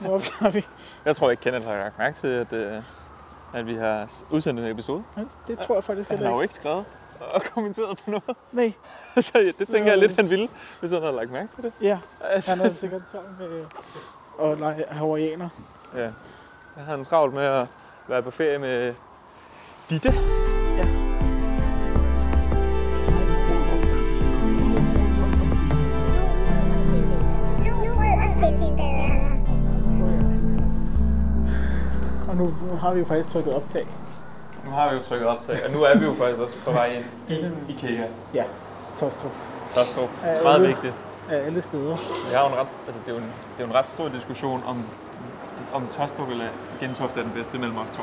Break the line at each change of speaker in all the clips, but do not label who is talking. Nu optager vi.
Jeg tror ikke, Kenneth har lagt mærke til, at, øh, at vi har s- udsendt en episode.
Ja, Det tror jeg faktisk
Han har
heller
jo
ikke.
ikke skrevet og kommenteret på noget.
Nej,
Så ja, det
Så-
tænker jeg lidt, han ville, hvis han havde lagt mærke til det.
ja.
Altså,
Han er sikkert sammen med øh, og lege hawaiianer.
ja. Jeg har en travlt med at være på ferie med Ditte.
You were a teddy bear.
Og nu, nu har vi jo faktisk trykket optag.
Nu har vi jo trykket optag, og nu er vi jo faktisk også på vej ind i IKEA.
Ja, Tostrup.
Tostrup.
Ja,
Meget
ude.
vigtigt.
Af alle steder.
Vi har jo en ret, altså det, er jo en, det er jo en ret stor diskussion om, om Tostrup eller Gentofte er den bedste mellem os to.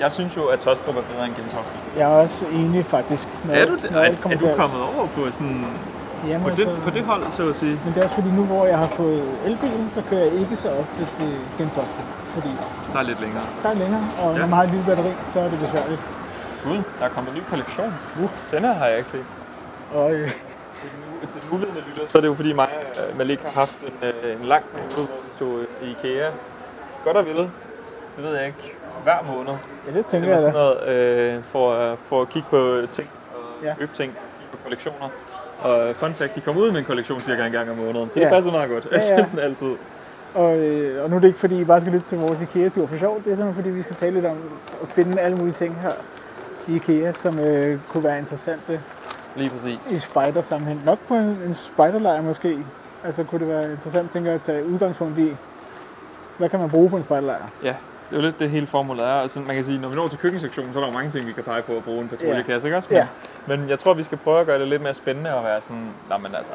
Jeg synes jo, at Tostrup er bedre end Gentofte.
Jeg er også enig faktisk. Når,
Er du,
når
er,
alt
er du
til alt.
kommet over på, sådan,
Jamen,
på, det,
altså,
på det hold, så at sige?
Men det er også fordi nu, hvor jeg har fået elbilen, så kører jeg ikke så ofte til Gentofte. Fordi
Der er lidt længere.
der er længere, og
Ja.
når man har et lille batteri, så er det besværligt.
Gud, der er kommet en ny kollektion.
Uh.
Den her har jeg ikke set.
Og øh,
Til den u- til den uvidende lytter, så er det jo fordi mig og Malik har haft en, øh, en lang periode, hvor vi tog øh, i IKEA. Godt og vel. Det ved jeg ikke. Hver måned.
ja, det tænker
Det var
jeg da.
sådan noget øh, for, at- for at kigge på ting og
Ja.
ja. købe ting kigge på kollektioner. Og fun fact, de kom ud med en kollektion cirka en gang om måneden, så det
Ja.
passer meget godt. Ja,
ja.
ja. sådan altid.
Og, øh, og nu er det ikke fordi, I bare skal lytte til vores IKEA-tur for sjov. Det er simpelthen fordi, vi skal tale lidt om at finde alle mulige ting her i IKEA, som øh, kunne være interessante
Lige
i
præcis.
spider-sammenhæng. Nok på en, en spiderlejr måske. Altså kunne det være interessant, tænker jeg, at tage udgangspunkt i, hvad kan man bruge på en spiderlejr?
Ja, det er jo lidt det hele formålet er. Altså, man kan sige, når vi når til køkkensektionen, så er der jo mange ting, vi kan pege på at bruge en patruljekasse, ikke også? Men,
Ja.
men jeg tror, vi skal prøve at gøre det lidt mere spændende og være sådan, nej, men altså,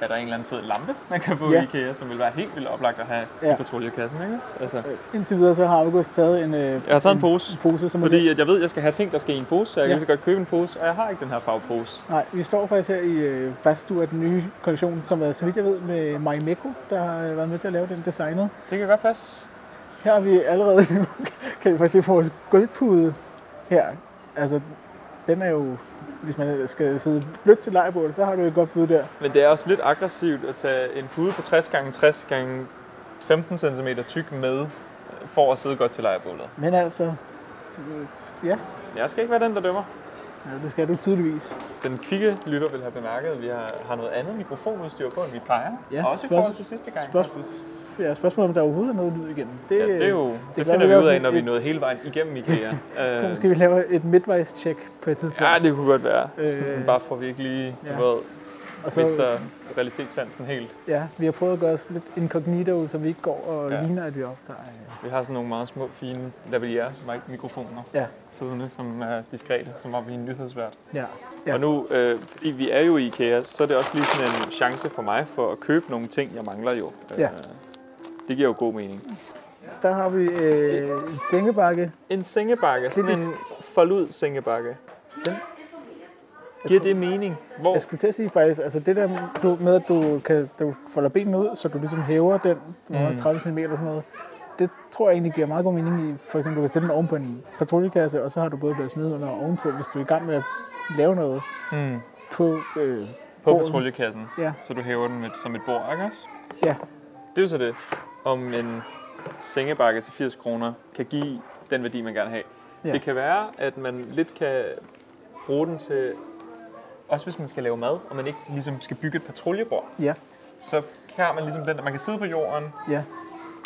er der en eller anden fed lampe, man kan få
Ja.
ja. i IKEA, som vil være helt vildt oplagt at have
Ja.
ja. i patruljekassen, ikke også? Altså,
Øh, Indtil videre så har August taget en, øh, jeg
har taget en pose,
en pose som er
fordi
lidt-
at jeg ved, at jeg skal have ting, der skal i en pose, så jeg
Ja.
ja. kan lige så godt købe en pose, og jeg har ikke den her farvepose.
Nej, vi står faktisk her i øh, Bastu af den nye kollektion, som er, så vidt jeg ved, med Marimekko, der har øh, været med til at lave den designet.
Det kan godt passe.
Her har vi allerede, kan vi faktisk se på vores gulvpude her. Altså, den er jo, hvis man skal sidde blødt til lejebålet, så har du et godt bud der.
Men det er også lidt aggressivt at tage en pude på 60 gange 60 gange 15 cm tyk med, øh, for at sidde godt til lejebålet.
Men altså, øh, ja,
Jeg skal ikke være den, der dømmer.
ja, det skal du tydeligvis.
Den kvikke lytter vil have bemærket, at vi har, har noget andet mikrofonudstyr på, end vi plejer.
Ja,
også i
spørgs-
forhold til sidste gang.
Spørgsmål, ja, spørgsmålet er, om der overhovedet er noget lyd igennem. Det,
Ja, det, er jo,
kan være,
det
vi
finder vi ud
laver
af, når vi
sådan
er nået hele vejen igennem IKEA.
Jeg tror
øh,
måske, vi laver et midtvejs-check på et tidspunkt.
ja, det kunne godt være. Sådan,
Øh,
bare for vi ikke lige
ja.
ja. ved,
og så,
mister realitetssansen helt.
ja, vi har prøvet at gøre os lidt incognito, så vi ikke går og
Ja.
ligner, at vi optager. øh,
Vi har sådan nogle meget små, fine lavalier-mikrofoner
Ja,
siddende, som er diskrete, som om vi er en nyhedsvært.
ja. Ja.
Ja. Og nu, øh, fordi vi er jo i IKEA, så er det også lige sådan en chance for mig for at købe nogle ting, jeg mangler jo. Øh,
Ja.
det giver jo god mening.
Der har vi øh, en sengebakke.
En sengebakke, sådan
Typisk.
en forlud sengebakke.
Den.
Giver det mening? Hvor,
Jeg skulle til at sige faktisk, altså det der du- med, at du, kan, du folder benene ud, så du ligesom hæver den mm. 30 cm eller sådan noget, det tror jeg egentlig giver meget god mening i, for eksempel du kan stille den oven på en patruljekasse, og så har du både blevet snedet under og ovenpå, hvis du er i gang med at lave noget
mm,
på, øh,
på
bordet.
patruljekassen,
Ja,
så du hæver den med, som et bord, ikke også?
ja,
Det er jo så det, om en sengebakke til 80 kroner kan give den værdi, man gerne vil have.
Ja.
Ja. Det kan være, at man lidt kan bruge den til, også hvis man skal lave mad, og man ikke ligesom skal bygge et patruljebord,
ja,
så har man ligesom den, at man kan sidde på jorden,
ja.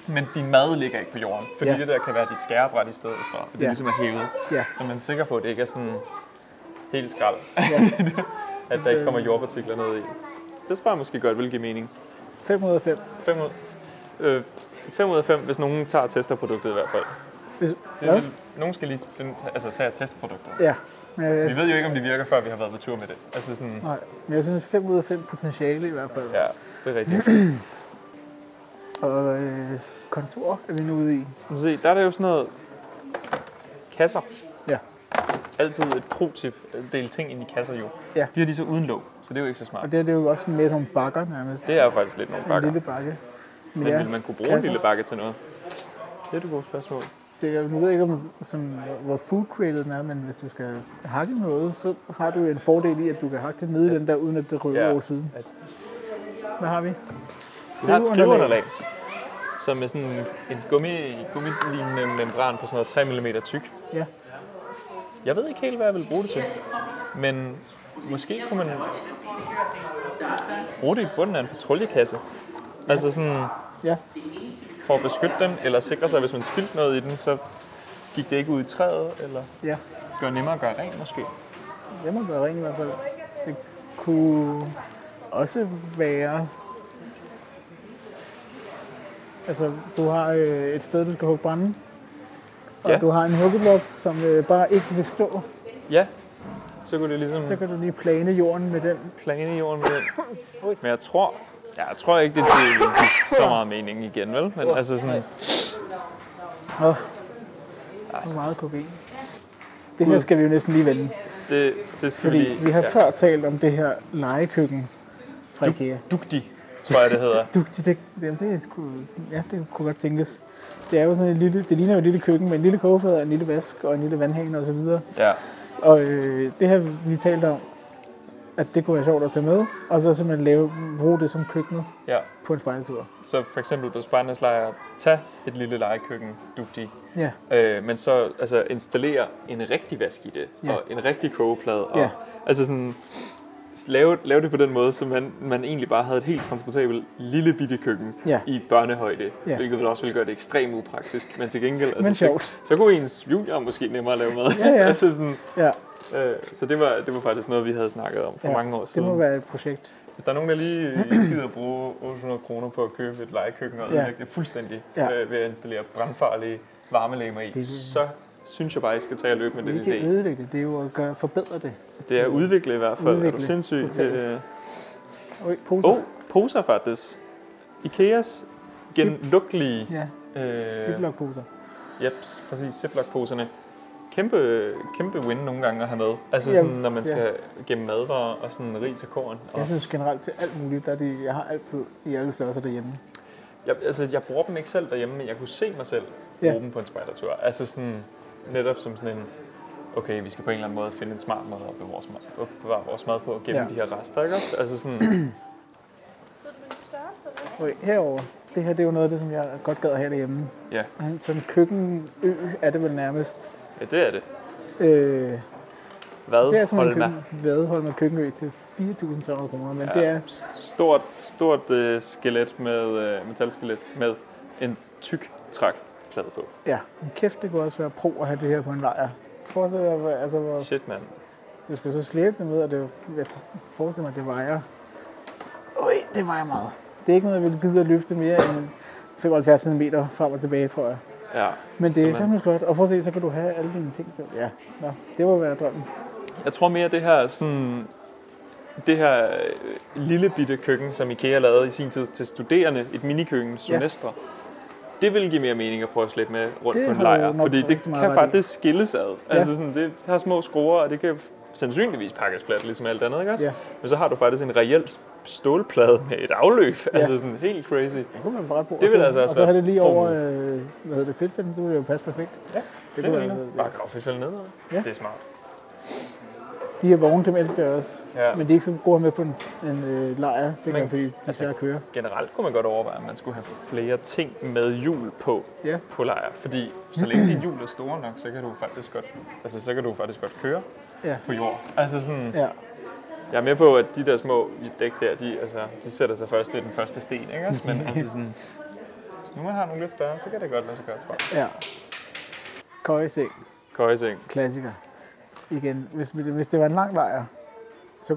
men din mad ligger ikke på jorden, fordi
Ja.
ja. det der kan være dit skærebræt i stedet for, og det
Ja.
ja. ligesom er hævet.
Ja.
Så man er sikker på, at det ikke er sådan helt skrald,
ja. øh,
at der ikke kommer jordpartikler ned i. Det tror jeg måske godt vil give mening.
505.
5 ud, øh, 5 ud af 5, hvis nogen tager og tester produktet i hvert fald.
Hvis,
Det
hvad?
vil, nogen skal lige finde, altså, tage og teste produktet.
Ja. Men jeg,
Vi ved jo ikke, om det virker, før vi har været på tur med det. Altså sådan,
nej, men jeg synes 5 ud af 5 potentiale i hvert fald.
ja, det er rigtigt.
Og øh, kontor er vi nu ude i.
Men se, der er der jo sådan noget kasser.
Ja.
Altid et pro-tip, at dele ting ind i kasser jo.
Ja.
De har de så uden låg, så det er jo ikke så smart.
Og det, her, det er jo også sådan mere som bakker nærmest.
Det er jo faktisk lidt nogle bakker.
En lille bakke. Men
Men
ja,
vil man kunne bruge
kasser.
en lille bakke til noget? Det er et godt spørgsmål.
det, er- nu ved jeg ikke, om, som, hvor food cradle den er, men hvis du skal hakke noget, så har du jo en fordel i, at du kan hakke det nede i den der, uden at det ryger
Ja.
over siden.
At-
Hvad har vi?
Vi har et skriveunderlag. som er sådan en gummi, gummilignende membran på sådan noget 3 mm tyk.
Ja.
Jeg ved ikke helt, hvad jeg vil bruge det til. Men måske kunne man bruge det i bunden af en patruljekasse. Altså sådan
Ja.
for at beskytte den, eller sikre sig, at hvis man spildte noget i den, så gik det ikke ud i træet, eller
Ja.
gør nemmere at gøre rent måske.
Jeg må gøre rent i hvert fald. Det kunne også være... Altså, du har øh, et sted, du skal hugge brænde. Og
Ja.
ja. du har en huggeblok, som øh, bare ikke vil stå.
Ja, så kunne det ligesom
Så kan du lige plane jorden med den.
plane i jorden med den. Men jeg tror, jeg tror ikke, det giver så meget mening igen, vel? Men altså sådan,
Åh, hvor meget kokain. Altså, Det her skal vi jo næsten lige vende.
det, det skal
Fordi
lige...
vi har før talt om det her legekøkken fra IKEA.
Dugtig, tror jeg, det hedder.
Du, det, det, jamen, det, er sgu, ja, det kunne godt tænkes. Det er jo sådan et lille, det ligner jo et lille køkken med en lille kogefad, og en lille vask og en lille vandhane og så videre.
Ja.
Og øh, det her vi talte om, at det kunne være sjovt at tage med, og så simpelthen lave, bruge det som køkkenet
ja.
på en spejletur.
Så for eksempel på Spartans lejr, tag et lille legekøkken, dugtig,
Ja,
øh, men så altså, installere en rigtig vask i det,
Ja.
og en rigtig kogeplade, og
Ja.
altså sådan, lave, lave det på den måde, så man, man egentlig bare havde et helt transportabelt lille bitte køkken
Ja.
i børnehøjde,
Ja.
hvilket vel også ville gøre det ekstremt upraktisk, men til gengæld, altså,
Men
så,
sjovt.
så kunne ens junior måske nemmere lave mad.
Ja, ja.
altså sådan,
ja
øh, så det var, det var faktisk noget, vi havde snakket om for
Ja,
mange år
det
siden.
må være et projekt.
Hvis der er nogen, der lige gider at bruge 800 kroner på at købe et legekøkken og
Ja.
ødelægge det fuldstændig
Ja.
øh, ved at installere brandfarlige varmelægmer i,
Det-
så synes jeg bare, I skal tage og løbe med
Det er
den
ikke at
idé.
ødelægge det, det er jo at gøre, forbedre det.
Det er at udvikle i hvert fald. Udvikle. Er du
Udvikle.
sindssyg?
Totalt.
Det-
Øj, poser.
Åh, oh, poser faktisk. Ikeas genlugtelige...
Ja,
Øh,
ziplock-poser.
jeps, præcis. Ziploc-poserne. Kæmpe, kæmpe win nogle gange at have med. Altså
Ja,
sådan, når man
ja.
skal gemme madvarer og sådan ris og korn. Og
Jeg synes generelt til alt muligt, der er de, jeg har altid i alle størrelser derhjemme.
Jeg, altså, jeg bruger dem ikke selv derhjemme, men jeg kunne se mig selv bruge
Ja.
dem på en spejdertur. Altså sådan, netop som sådan en, okay, vi skal på en eller anden måde finde en smart måde at bevare vores mad, at bevare vores mad på og gemme ja.
Ja.
de her rester, ikke også? Altså sådan,
Okay, herover. Det her det er jo noget af det, som jeg godt gad at have derhjemme.
ja,
Sådan en køkkenø er det vel nærmest.
ja det er det.
Øh,
Hvad?
det er sådan en
Holma?
køkken, vadehold med køkkenø til 4.300 kroner, men ja. det
Ja,
er
s- Stort, stort øh, skelet med, øh, metalskelet med en tyk trækplade på.
ja, men kæft, det kunne også være pro at have det her på en lejr. Forestil dig, hvor- altså, hvor
Shit, mand.
du skal så slæbe det med, og det, jeg t- forestiller mig, at det vejer. Øj, det vejer meget. Det er ikke noget, jeg ville gide at løfte mere end 75 cm frem og tilbage, tror jeg.
Ja.
Men det er
Simpelthen.
fandme flot. Og prøv at se, så kan du have alle dine ting selv. Ja, Nå, det må være drømmen.
Jeg tror mere, det her sådan det her øh, lille bitte køkken, som IKEA lavede i sin tid til studerende, et minikøkken, semestre, det vil give mere mening at prøve at slæbe med rundt
Det
på en
har du
lejr,
nok
fordi det
rigtig meget
kan
ret i.
faktisk skilles ad. Altså sådan, det har små skruer, og det kan sandsynligvis pakkes fladt, ligesom alt andet, ikke også?
Ja.
Men så har du faktisk en reel stålplade med et afløb, altså sådan helt crazy.
Det kunne man bare bruge.
Det
Og
ville
så-
altså også
Og så har
være
det lige
pro
over,
move.
øh, hvad hedder det, fedtfælden, det ville jo passe perfekt. Ja, det, kunne
Det, det
man
er
altså.
altså, bare graffiti ned. Ja.
Ja.
Det er smart.
De her vogne, dem elsker jeg også.
Ja.
Men de er ikke så gode at have med på en, en øh, lejr, tænker
Men-
jeg, fordi de er svære at køre.
Generelt kunne man godt overveje, at man skulle have flere ting med hjul på
Ja.
på lejr, fordi så længe dine hjul er store nok, så kan du faktisk godt, altså, så kan du faktisk godt køre
Ja.
på jord. Altså sådan,
Ja.
jeg er med på, at de der små dæk der, de, altså, de sætter sig først ved den første sten, ikke også? Men altså sådan, hvis nu man har nogle lidt større, så kan det godt lade sig gøre, tror jeg.
ja. Køjeseng,
Køjeseng.
klassiker. Igen, hvis, hvis det var en lang lejr, så,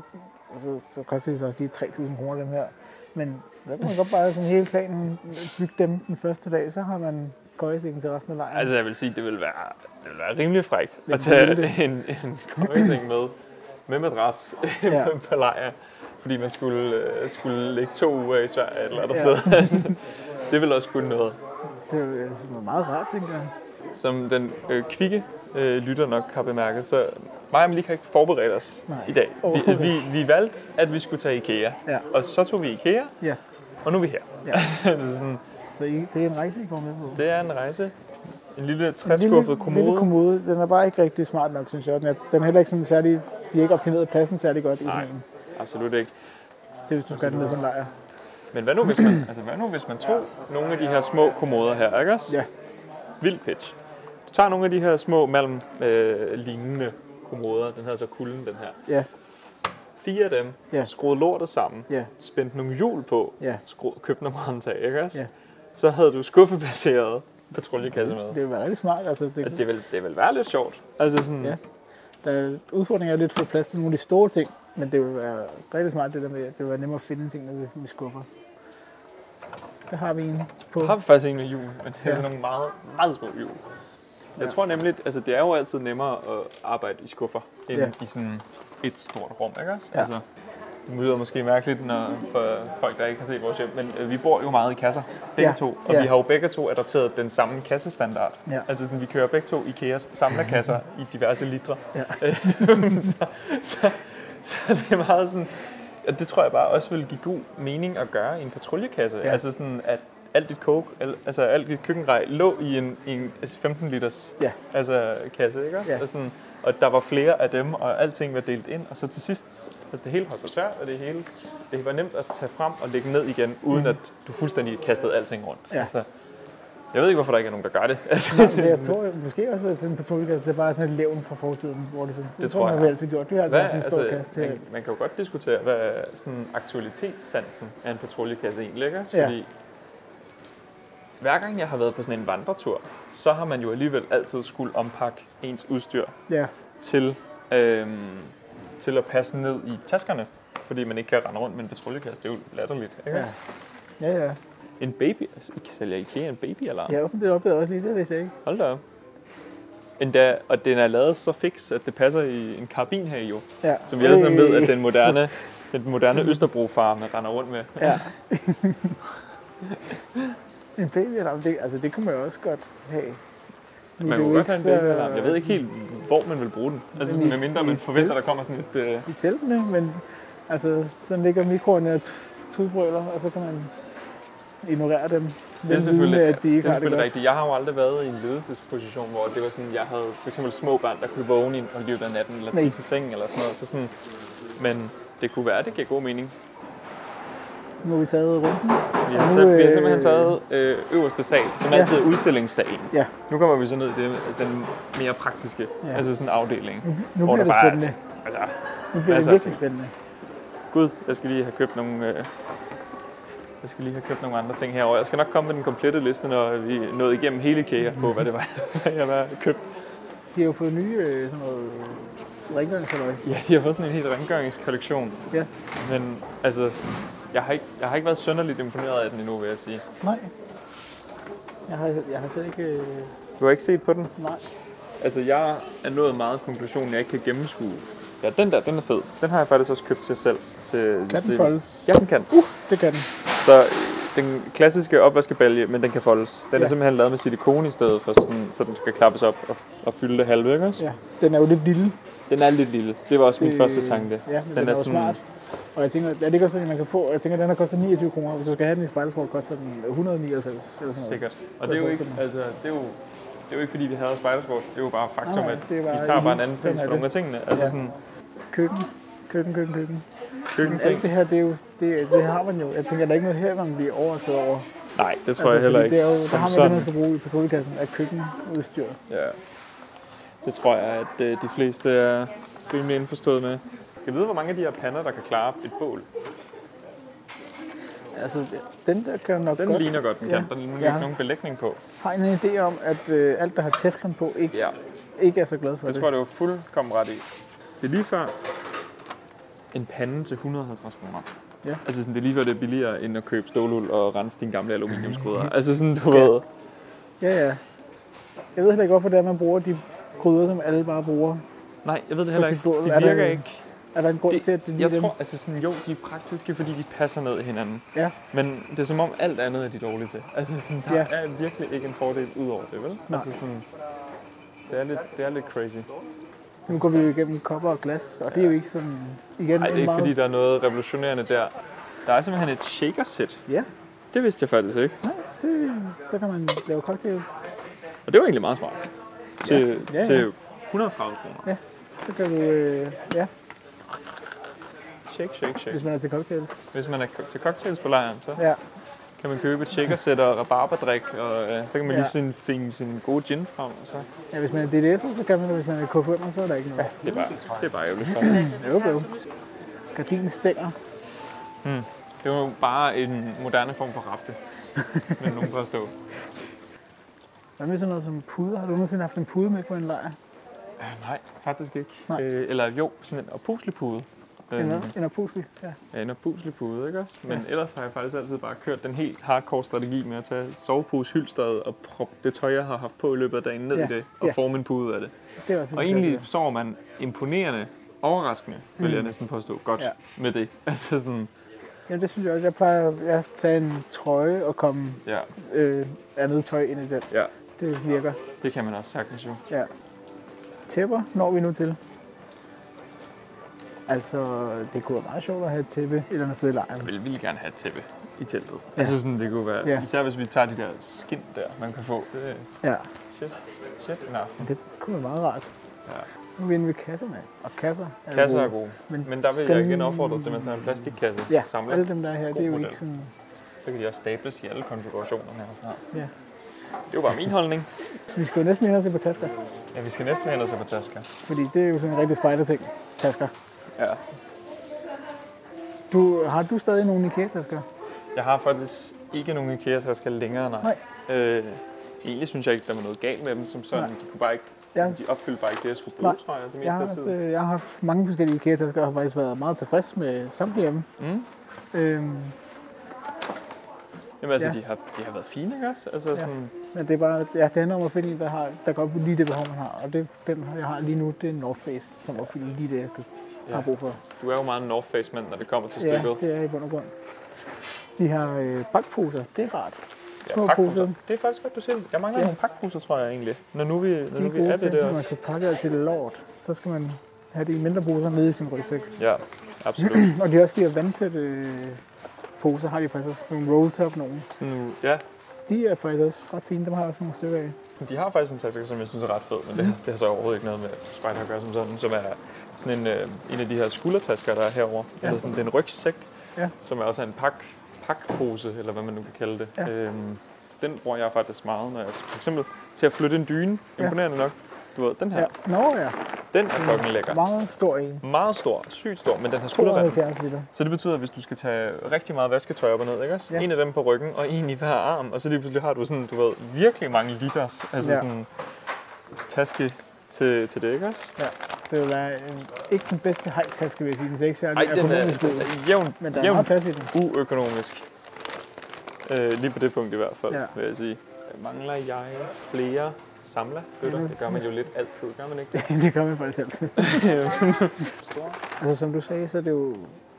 så, så koster det så også lige 3.000 kroner dem her. Men der kunne man godt bare sådan hele planen bygge dem den første dag, så har man køjesengen til resten af lejren.
Altså jeg vil sige, det vil være, det vil være rimelig frækt at
Det ville
tage en, en køjeseng med, med madras ja.
Ja.
på lejr, fordi man skulle, øh, skulle ligge to uger i Sverige eller andet
Ja.
ja. sted. Altså, det vil også kunne noget.
det er jo altså meget rart, tænker jeg.
Som den øh, kvikke øh, lytter nok har bemærket, så mig og Malik har ikke forberedt os
Nej.
i dag. Vi,
Overhovedet
vi, vi valgte, at vi skulle tage IKEA,
Ja.
og så tog vi IKEA,
Ja.
og nu er vi her.
Ja.
det, er sådan,
Så I, det er en rejse, I kommer med på.
det er en rejse. En lille
En
træskuffet kommode.
lille kommode. Den er bare ikke rigtig smart nok, synes jeg. Den er, den er heller ikke sådan særlig... Vi har ikke optimeret pladsen særlig godt i
Nej.
sådan en.
Absolut ikke.
Det er, hvis du skal have den med på en lejr.
Men hvad nu, hvis man, altså, hvad nu, hvis man tog nogle af de her små kommoder her, ikke også?
Ja.
Vild pitch. Du tager nogle af de her små malm-lignende kommoder. Den hedder så kulden, den her.
Ja,
Fire af dem.
Ja.
Skruede lortet sammen.
ja,
Spændte nogle hjul på.
ja.
Skru, købte nogle håndtag, ikke også?
Ja.
Så havde du skuffebaseret patruljekasse med.
Det ville være rigtig smart. Altså, det,
Det vil, det vil være lidt sjovt. Altså sådan,
Ja. der, udfordringen er jo lidt for plads til nogle af de store ting, men det vil være rigtig smart, det der med, at det vil være nemmere at finde tingene, hvis vi skuffer. Der har vi en på.
Der har vi faktisk en med jul, men det er
Ja.
sådan nogle meget, meget små jul. Jeg
Ja.
tror nemlig, altså det er jo altid nemmere at arbejde i skuffer, end
Ja.
i sådan et stort rum, ikke også?
Ja.
Altså, det lyder måske mærkeligt når, for folk, der ikke har set vores hjem, men øh, vi bor jo meget i kasser, begge
Ja.
to. Og
Ja.
vi har jo begge to adopteret den samme kassestandard.
Ja.
Altså sådan, vi kører begge to IKEAs samlerkasser i diverse litre.
Ja.
så, så, så det er meget sådan... Og det tror jeg bare også vil give god mening at gøre i en patruljekasse. Ja.
Ja.
Altså sådan, at alt dit coke, al, altså alt dit køkkenrej lå i en, i en altså 15 liters
Ja.
altså, kasse, ikke også?
Ja.
Og, sådan, og der var flere af dem, og alting var delt ind. Og så til sidst, altså det hele holdt sig tør, og det hele, det var nemt at tage frem og lægge ned igen, uden mm. at du fuldstændig kastede alting rundt.
Mhm. Ja.
Altså, jeg ved ikke, hvorfor der ikke er nogen, der gør det. Altså,
Det, jeg tror jeg, måske også, at sådan en patruljekasse, det er bare sådan et levn fra fortiden, hvor det sådan, det,
tror
tror man
jeg.
har altid gjort. Vi har altid
Hvad,
haft en stor
altså,
kasse til.
man, man kan jo godt diskutere, hvad er sådan aktualitetssansen af en patruljekasse egentlig ikke? også?
Ja.
Fordi hver gang jeg har været på sådan en vandretur, så har man jo alligevel altid skulle ompakke ens udstyr
Ja,
til, øhm, til at passe ned i taskerne, fordi man ikke kan rende rundt med en patruljekasse. Det er jo latterligt. Ikke?
ja.
også?
Ja, ja.
En baby, altså, I sælger IKEA en babyalarm.
Jeg åbnede det opdagede jeg også lige, det vidste jeg ikke.
Hold da op. Endda, og den er lavet så fix, at det passer i en karabin her jo.
Ja.
Som vi alle sammen ved, at
Øh,
den moderne, den moderne Østerbro-farme render rundt med.
Ja. en babyalarm, det, altså det kunne man jo også godt have. Nu er
Man
det
kunne
jo
godt have en
ikke så-
babyalarm. Jeg ved ikke helt, hvor man vil bruge den. Altså sådan,
i-
medmindre
i
man
et
forventer,
telt?
der kommer sådan et... Øh,
i teltene, men altså, sådan ligger mikroerne og tu- tudbrøler, og så kan man ignorere dem.
det er selvfølgelig,
at de
det
ikke
er
har det
selvfølgelig
godt.
rigtigt. Jeg har jo aldrig været i en ledelsesposition, hvor det var sådan, jeg havde for eksempel små børn, der kunne vågne i- og løbe af natten, eller
Nej.
tisse i sengen, eller sådan noget. Så sådan, men det kunne være, det giver god mening.
Nu har vi taget runden.
Vi
Og
har,
nu,
taget, vi har
øh,
simpelthen taget øh, øverste sal, som
Ja.
altid er udstillingssalen.
Ja.
Nu kommer vi så ned i det, den mere praktiske
Ja. Mhm.
altså sådan en afdeling.
Nu
Hvor
bliver
der
det
bare er
spændende.
Altså,
Nu bliver
masser
det
af
virkelig
ting.
spændende.
Gud, jeg skal lige have købt nogle... Øh, jeg skal lige have købt nogle andre ting herovre. Jeg skal nok komme med den komplette liste, når vi nåede igennem hele IKEA på, hvad det var, jeg var købt.
De har jo fået nye øh, sådan noget øh, rengøringshalløj.
Ja, de har fået sådan en helt rengøringskollektion.
Ja.
Men altså, s- jeg har, ikke, jeg har ikke været sønderligt imponeret af den endnu, vil jeg sige.
Nej. Jeg har, jeg har slet ikke... Øh,
Du har ikke set på den?
nej.
Altså, jeg er nået meget konklusion, jeg ikke kan gennemskue. Ja, den der, den er fed. Den har jeg faktisk også købt til selv. Til,
Kan den
til,
foldes?
Ja, den kan. Uh.
Det kan den.
Så øh, den klassiske opvaskebalje, men den kan foldes. Den ja. er
Ja.
simpelthen lavet med silikone i stedet for, sådan, så den skal klappes op og, og fylde det halve, ikke også?
Ja. Den er jo lidt lille.
Den er lidt lille. Det var også min
Det-
første tanke.
Ja, men den, den er, er jo smart. Og jeg tænker, er det ikke også sådan, man kan få? Jeg tænker, den har kostet 29 kroner. Hvis du skal have den i spejdersport, koster den 199 eller sådan noget.
Sikkert. Og det er jo ikke,
forestille mig.
altså, det er jo, det er jo ikke fordi, vi havde spejdersport. Det er jo bare faktum,
Nej,
at
det er bare
de tager bare en
elite.
anden
Sådan
pris
er
for nogle
det.
af tingene. Altså
Ja.
sådan
Køkken. Køkken, køkken, køkken.
køkkenting.
Alt det her, det, er jo, det, det har man jo. Jeg tænker, der er ikke noget her, man bliver overrasket over.
Nej, det tror jeg heller
altså, fordi
ikke.
Det er jo, der
som
har man det,
sådan.
man skal bruge i patruljekassen af køkkenudstyr.
Ja. Det tror jeg, at øh, de fleste er rimelig indforstået med. Jeg ved, hvor mange af de her pander, der kan klare et bål.
Altså, den der kan nok
Den
godt...
ligner godt, den kan.
Ja.
Der er nemlig
Ja.
ikke nogen belægning på.
har en idé om, at øh, alt, der har teflon på, ikke,
Ja.
ikke er så glad for
Det
det.
tror jeg, det var fuldkommen ret i. Det er lige før en pande til 150 kroner.
Ja.
Altså sådan, det er lige før, det er billigere, end at købe stålul og rense dine gamle aluminiumskrydderier. altså sådan, du ved.
Ja, ja. Jeg ved heller ikke, hvorfor det er, man bruger de krydder, som alle bare bruger.
Nej, jeg ved det heller ikke.
Præcis,
Det
er der-
virker ikke.
Er der en grund til, at det
Det,
lige
jeg
dem?
tror, altså sådan, jo, de er praktiske, fordi de passer ned i hinanden.
Ja,
Men det er som om alt andet er de dårlige til. Altså, sådan, der ja.
Ja.
er virkelig ikke en fordel ud over det, vel?
Nej.
Altså, sådan, det, er lidt, det er lidt crazy.
nu går vi jo igennem kopper og glas, og det er jo ikke sådan... Igen,
Nej, det er ikke
meget...
fordi, der er noget revolutionerende der. Der er simpelthen et shaker-sæt.
Ja,
Det vidste jeg faktisk ikke.
nej, det, så kan man lave cocktails.
Og det var egentlig meget smart. Til, ja.
Ja, ja.
til 130 kroner.
Ja, så kan du... Øh, ja.
Shake, shake, shake.
hvis man er til cocktails.
Hvis man er ko- til cocktails på lejren, så
Ja,
kan man købe et shakersæt og rabarberdrik, og øh, så kan man
Ja.
lige sådan finge sin gode gin frem, og så
ja hvis man er DDS'er, så kan man det. Hvis man er KFM'er, så er der ikke noget.
det er bare, det er bare ærgerligt. faktisk.
Jo, jo. Gardinen stænger.
Det er jo bare en moderne form for rafte, men nogen påstå.
Hvad med sådan noget som puder? Har du nogensinde haft en pude med på en lejr?
Øh, nej, faktisk ikke.
Nej.
Øh, eller jo, sådan en opuslepude.
En,
Øh,
hvad? en opuslig? Ja.
Ja, en opuslig pude, ikke også? Men ellers har jeg faktisk altid bare kørt den helt hardcore strategi med at tage sovepose, hylsteret og proppe det tøj, jeg har haft på i løbet af dagen ned
Ja,
i det, og
ja.
forme en pude ud af det.
Det er også
Og
en
egentlig
klassiker.
sover man imponerende, overraskende, vil jeg næsten påstå, godt
Mm. Ja.
med det. Altså sådan,
Jamen, det synes jeg også. Jeg plejer at jeg tage en trøje og komme
ja,
øh, andet tøj ind i den.
ja,
Det virker.
det kan man også sagtens jo.
Ja. Tæpper når vi nu til. Altså, det kunne være meget sjovt at have et tæppe et eller andet sted i
Jeg
lejren.
vil vildt gerne have et tæppe i teltet. Altså sådan, det kunne være,
Ja.
især hvis vi tager de der skin der, man kan få. Øh,
Ja,
shit, shit en aften.
det kunne være meget rart.
Ja.
Nu er vi inde ved kasser, mand. Og kasser er
Kasser er
gode.
gode,
Men
men, men der vil jeg
den-
igen opfordre til, at man tager en plastikkasse,
Ja,
samler
alle dem, der er her,
God
det er jo
model.
ikke sådan...
Så kan de også stables i alle konfigurationer her snart.
Ja.
Det var bare min holdning.
Vi skal jo næsten ind og se på tasker,
Ja, vi skal næsten hen og se på tasker.
fordi det er jo sådan en rigtig spider-ting, tasker.
Ja.
Du, har du stadig nogle IKEA-tasker?
Jeg har faktisk ikke nogen IKEA-tasker længere, nej.
Nej.
Øh, egentlig synes jeg ikke, der var noget galt med dem som sådan.
Nej.
De, kunne bare ikke, altså,
Ja.
de opfyldte bare ikke det, jeg skulle bruge,
Nej.
tror jeg,
Jeg
det meste
har,
af
haft,
tiden.
øh, jeg har haft mange forskellige IKEA-tasker, og har faktisk været meget tilfreds med samtlige af dem.
Mm.
Øhm,
Jamen altså,
ja.
ja. de, har, de har været fine, ikke også? Altså, ja. sådan,
men det, er bare, ja, det handler om at finde en, der, har, der godt lige det behov, man har. Og det, den, jeg har lige nu, det er en North Face, som opfylder lige det, jeg ja. har
ja.
brug for.
Du er jo meget en North Face-mand, når det kommer til
Ja,
stykket.
det er i bund og grund. De har øh, bakposer, det er rart. små
pakposer.
poser.
Det er faktisk godt, du siger det. Jeg mangler
Ja.
ja. nogle pakposer, tror jeg egentlig. Når nu vi, når
De
nu
er
vi
gode
er
til,
det der
når man
også.
skal pakke alt til lort, så skal man have det i mindre poser nede i sin rygsæk.
Ja, absolut.
Og de har også de her vandtætte øh, poser, har de faktisk også sådan nogle roll-top nogen.
Sådan, ja,
De er faktisk også ret fine, dem har jeg også nogle stykker af.
De har faktisk en taske, som jeg synes er ret fed, men det, det har så overhovedet ikke noget med spejder at gøre som sådan, som er sådan en, øh, en af de her skuldertasker, der er herovre. Ja. Eller sådan, det er en rygsæk,
Ja.
som er også en pak, pakpose, eller hvad man nu kan kalde det.
Ja.
Øhm, den bruger jeg faktisk meget, når jeg for eksempel til at flytte en dyne,
Ja.
imponerende nok. Du ved, den her,
Ja.
ja.
Nå ja,
den er fucking lækker.
meget stor en.
Meget stor, sygt stor, men den har skulderrem.
72 liter.
Så det betyder, at hvis du skal tage rigtig meget vasketøj op og ned, ikke også?
Ja.
En af dem på ryggen, og en i hver arm, og så lige pludselig har du sådan, du ved, virkelig mange liters, altså
Ja.
ja. sådan taske til, til det, ikke også?
Ja, det vil være en, ikke den bedste hajtaske, vil jeg sige. Den ser ikke særlig
Ej, den
økonomisk ud,
er jævnt,
men der er meget
jævnt
plads i den.
uøkonomisk. Øh, lige på det punkt i hvert fald,
Ja.
ja. vil jeg sige. Mangler jeg flere samler?
Ja, nu-
Det gør man jo lidt altid, gør man ikke det?
det gør man faktisk altid. altså, som du sagde, så er det jo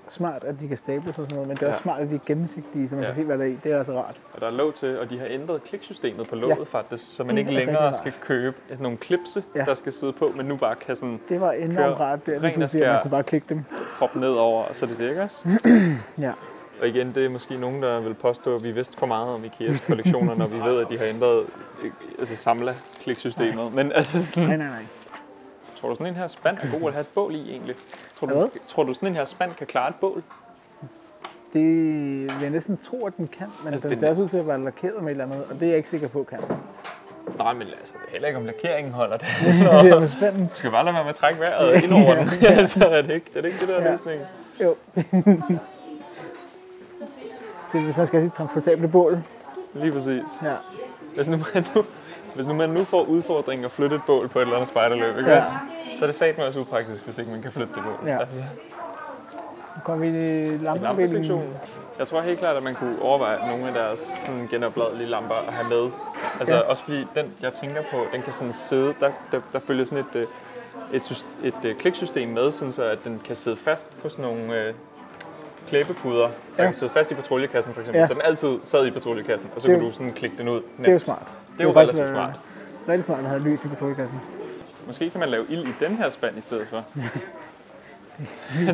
smart, at de kan stable sig og sådan noget, men det er også
Ja.
smart, at de er gennemsigtige, så man
Ja.
kan se, hvad der er i. Det er altså rart.
Og der er låg til, og de har ændret kliksystemet på låget
Ja.
ja. faktisk, så man
Det
ikke
er rigtig
længere
rart.
skal købe sådan nogle klipse,
Ja.
ja. der skal sidde på, men nu bare kan sådan
Det var enormt
Kører
rart, der,
ren
lige
og
pludselig, at man
skær.
kunne bare klikke dem.
hoppe ned over, og så er det det, ikke også?
Ja.
Og igen, det er måske nogen, der vil påstå, at vi vidste for meget om IKEA's kollektioner, når vi ved, at de har ændret øh, altså samla-kliksystemet. Men altså
Nej,
sådan,
nej, nej.
tror du sådan en her spand er god at have et bål i egentlig? Tror du,
Hvad?
tror du sådan en her spand kan klare et bål?
Det vil jeg næsten tro, at den kan, men altså,
Altså,
den
den-
ser også ud til at være lakeret med et eller andet, og det er jeg ikke sikker på, kan.
Nej, men altså, det er heller ikke om lakeringen holder det.
det er jo spændende.
Du skal bare lade være med at trække vejret ind over den. altså, er det ikke er det, ikke det der
Ja.
ja. løsning?
Jo. Så hvis man skal sige transportable bål.
Lige præcis.
Ja.
Hvis nu man nu, hvis nu man nu får udfordringen at flytte et bål på et eller andet spejderløb, ikke
Ja.
ja. så er det satme også upraktisk, hvis ikke man kan flytte det bål.
Ja.
Altså.
Nu kommer vi i lampeafdelingen.
Lampesektionen. Jeg tror helt klart, at man kunne overveje nogle af deres sådan, genopladelige lamper at have med. Altså
Ja.
ja. også fordi den, jeg tænker på, den kan sådan sidde, der, der, der følger sådan et, øh, et, et, et øh, kliksystem med, sådan så at den kan sidde fast på sådan nogle øh, klæbepuder, der
Ja.
kan sidde fast i patruljekassen for eksempel.
Ja.
Ja. Så den altid sad i patruljekassen, og så
Det er
kunne
jo-
du sådan klikke den ud nemt.
Det er jo smart.
Det er jo
faktisk,
relativt
øh,
smart.
Rigtig smart at have lys i patruljekassen.
Måske kan man lave ild i den her spand i stedet for. jeg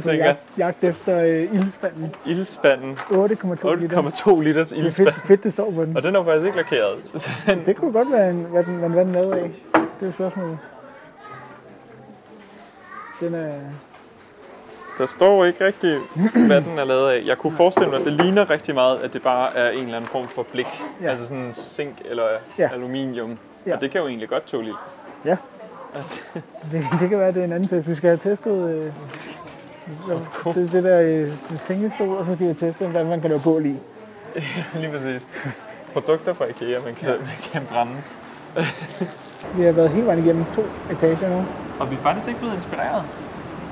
Så
tænker,
jag- Jagt efter øh, ildspanden.
ildspanden,
8,2 liter.
8,2 liters
Det er fedt,
ildspand.
fedt, det står på den.
Og den er jo faktisk ikke lakeret. Så den,
Det kunne godt være, en, hvad den, hvad den lavede af. Det er jo spørgsmålet. Den er...
Der står ikke rigtig, hvad den er lavet af. Jeg kunne forestille mig, at det ligner rigtig meget, at det bare er en eller anden form for blik. Ja.
Ja.
Altså sådan zink eller ja.
Ja.
aluminium. Ja.
Ja.
Og det kan jo egentlig godt tåle ild.
Ja. Det, det kan være, det er en anden test. Vi skal have testet øh, det, det der øh, sengestol, og så skal vi teste, hvordan man kan lave bål i.
Lige præcis. Produkter fra IKEA, man kan, ja. man kan brænde.
Vi har været hele vejen igennem to etager nu.
Og vi er faktisk ikke blevet inspireret.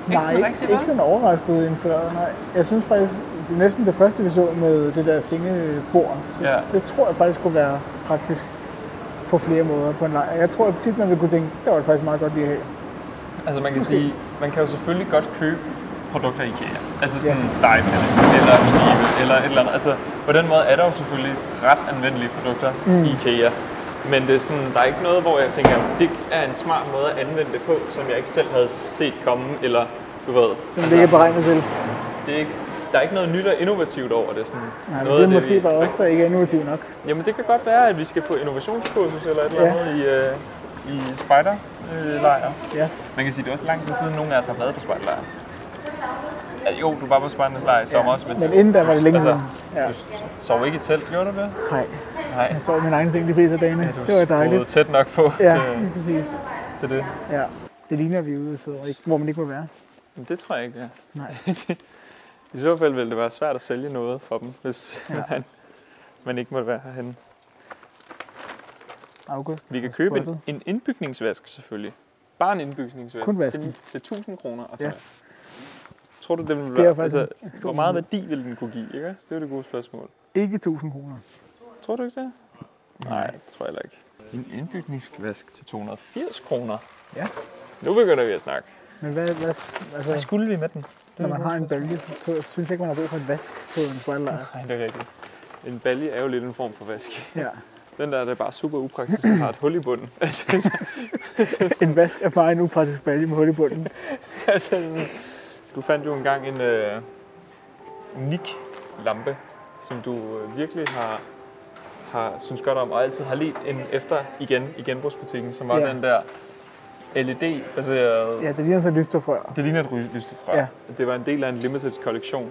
Ikke
Nej,
sådan
ikke,
rigtig,
ikke
vel?
sådan overrasket inspireret. Nej. Jeg synes faktisk, det er næsten det første, vi så med det der sengebord. Så
Ja.
ja. det tror jeg faktisk kunne være praktisk på flere måder på en lejr. Jeg tror tit, man vil kunne tænke, der var det faktisk meget godt lige at have.
Altså man kan sige, man kan jo selvfølgelig godt købe produkter i IKEA. Altså sådan
Ja.
yeah. stejpande, eller knive, eller et eller andet. Altså på den måde er der jo selvfølgelig ret anvendelige produkter mm. i IKEA. Men det er sådan, der er ikke noget, hvor jeg tænker, det er en smart måde at anvende det på, som jeg ikke selv havde set komme, eller du ved. altså,
Som det ikke er beregnet til.
det er ikke, der er ikke noget nyt og innovativt over det. Sådan
Nej, men
noget
det
af
er måske
vi-
bare os, der ikke er innovative nok.
Jamen det kan godt være, at vi skal på innovationskursus eller et eller
Ja.
andet i, øh, i øh, spejderlejr.
Ja.
Man kan sige, det er også lang tid siden, nogen af os har været på spejderlejr. Ja, jo, du var på spejderlejr i sommer også, men... Altså,
Men inden der var det længe siden. Ja.
Du sov ikke i telt, gjorde du det?
Nej,
Nej,
jeg sov min egen ting de fleste af dagene.
du
det var dejligt.
skruede tæt nok på
Ja, lige
til,
præcis.
til det.
Ja. Det ligner, at vi er ude så ikke, hvor man ikke må være.
Men det tror jeg ikke, ja.
Nej.
I så fald ville det være svært at sælge noget for dem, hvis ja. man, man ikke måtte være herhenne.
August.
Vi kan
har
købe en,
spottet.
en indbygningsvask selvfølgelig. Bare en indbygningsvask
Kun
til,
vasken.
til 1000 kroner. Og så
Ja.
Tror du, det ville
Det er
være...
faktisk
altså,
en stor
hvor meget værdi ville den kunne give, ikke? Det er jo det gode spørgsmål.
Ikke 1000 kroner.
Tror du ikke det? Nej, det tror jeg heller ikke. En indbygningsvask til 280 kroner.
Ja.
Nu begynder vi at snakke.
Men hvad, hvad altså,
Hvad skulle vi med den?
når man har en bølge, så tror- synes jeg ikke, man har brug for en vask på en spejllejr.
Nej, det er rigtigt. En balje er jo lidt en form for vask.
Ja.
Den der, der er bare super upraktisk og har et hul i bunden. Altså,
En vask er bare en upraktisk balje med hul i bunden.
Altså, sådan- du fandt jo engang en øh, unik lampe, som du øh, virkelig har, har synes godt om, og altid har let en efter igen i genbrugsbutikken, som var
Ja.
den der E LED-baserede...
Ja, det ligner så lyster før.
Det ligner et ry- lystefrø.
Ja.
Det var en del af en limited kollektion.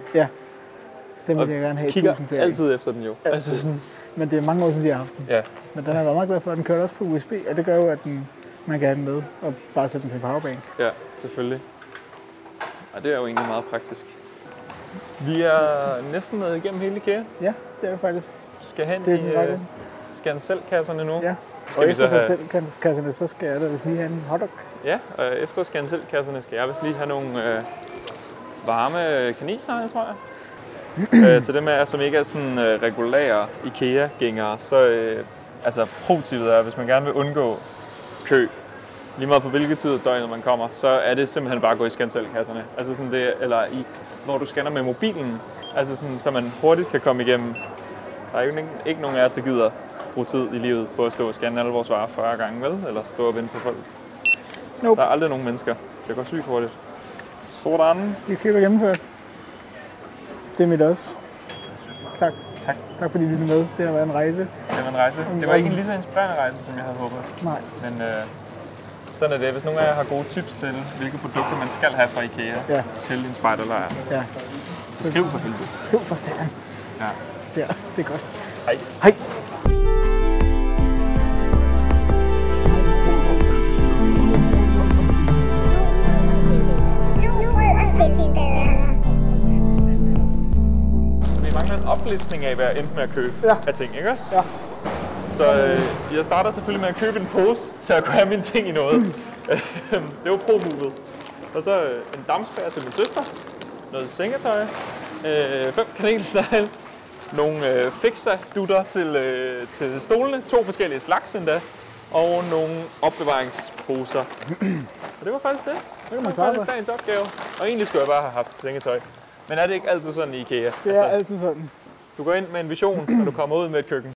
Den
Og
vil jeg gerne have i
Kigger
1000 flere. af.
altid efter den jo. Altså sådan,
Men det er mange år siden, jeg har haft den.
ja.
Men den har jeg været meget glad for, at den kørte også på USB, og det gør jo, at den, man kan have den med og bare sætte den til en powerbank.
Ja, selvfølgelig. Og det er jo egentlig meget praktisk. Vi er næsten nået igennem hele IKEA.
Ja, det er det faktisk.
Skal hen
Det er den
i
række.
øh, skanselkasserne nu.
Ja.
Skal
Og
vi så
efter
have-
den selv kan, kasserne, så skal jeg da vist lige have en hotdog.
Ja, og efter skanselkasserne skal jeg vist lige have nogle øh, varme kaninsnegle, tror jeg. øh, til dem af jer, som ikke er sådan øh, regulære IKEA-gængere, så øh, altså pro-tippet er, hvis man gerne vil undgå kø, lige meget på hvilket tid af døgnet man kommer, så er det simpelthen bare at gå i skanselkasserne. Altså sådan det, eller i, når du scanner med mobilen, altså sådan, så man hurtigt kan komme igennem. Der er jo ikke, ikke nogen af os, der gider bruge tid i livet på at stå og scanne alle vores varer 40 gange, vel? Eller stå og vente på folk.
Nope.
Der er aldrig nogen mennesker. Det går sygt hurtigt. Sådan.
Vi køber gennemført. Det er mit også. Tak.
Tak.
Tak fordi I lyttede med. Det har været en rejse.
Det var en rejse. Det var ikke en lige så inspirerende rejse, som jeg havde håbet.
Nej.
Men øh, sådan er det. Hvis nogen af jer har gode tips til, hvilke produkter man skal have fra IKEA
Ja.
til en spejderlejr,
Ja.
så skriv for helvede.
Skriv for satan.
Ja.
Ja, det er godt.
Hej.
Hej.
You were everything, Diana.
Vi mangler en oplistning af, hvad jeg endte med at købe
Ja.
af ting, ikke også?
Ja.
Så øh, jeg starter selvfølgelig med at købe en pose, så jeg kunne have mine ting i noget. det var pro-movet. Og så øh, en dampspær til min søster, noget sengetøj, øh, fem kanelsnegle, nogle øh, fixa-dutter til, øh, til stolene, to forskellige slags endda, og nogle opbevaringsposer. og det var faktisk det. Det var
klare
faktisk
sig.
dagens opgave. Og egentlig skulle jeg bare have haft sengetøj. Men er det ikke altid sådan i IKEA? Altså,
Det er altid sådan.
Du går ind med en vision, og du kommer ud med et køkken.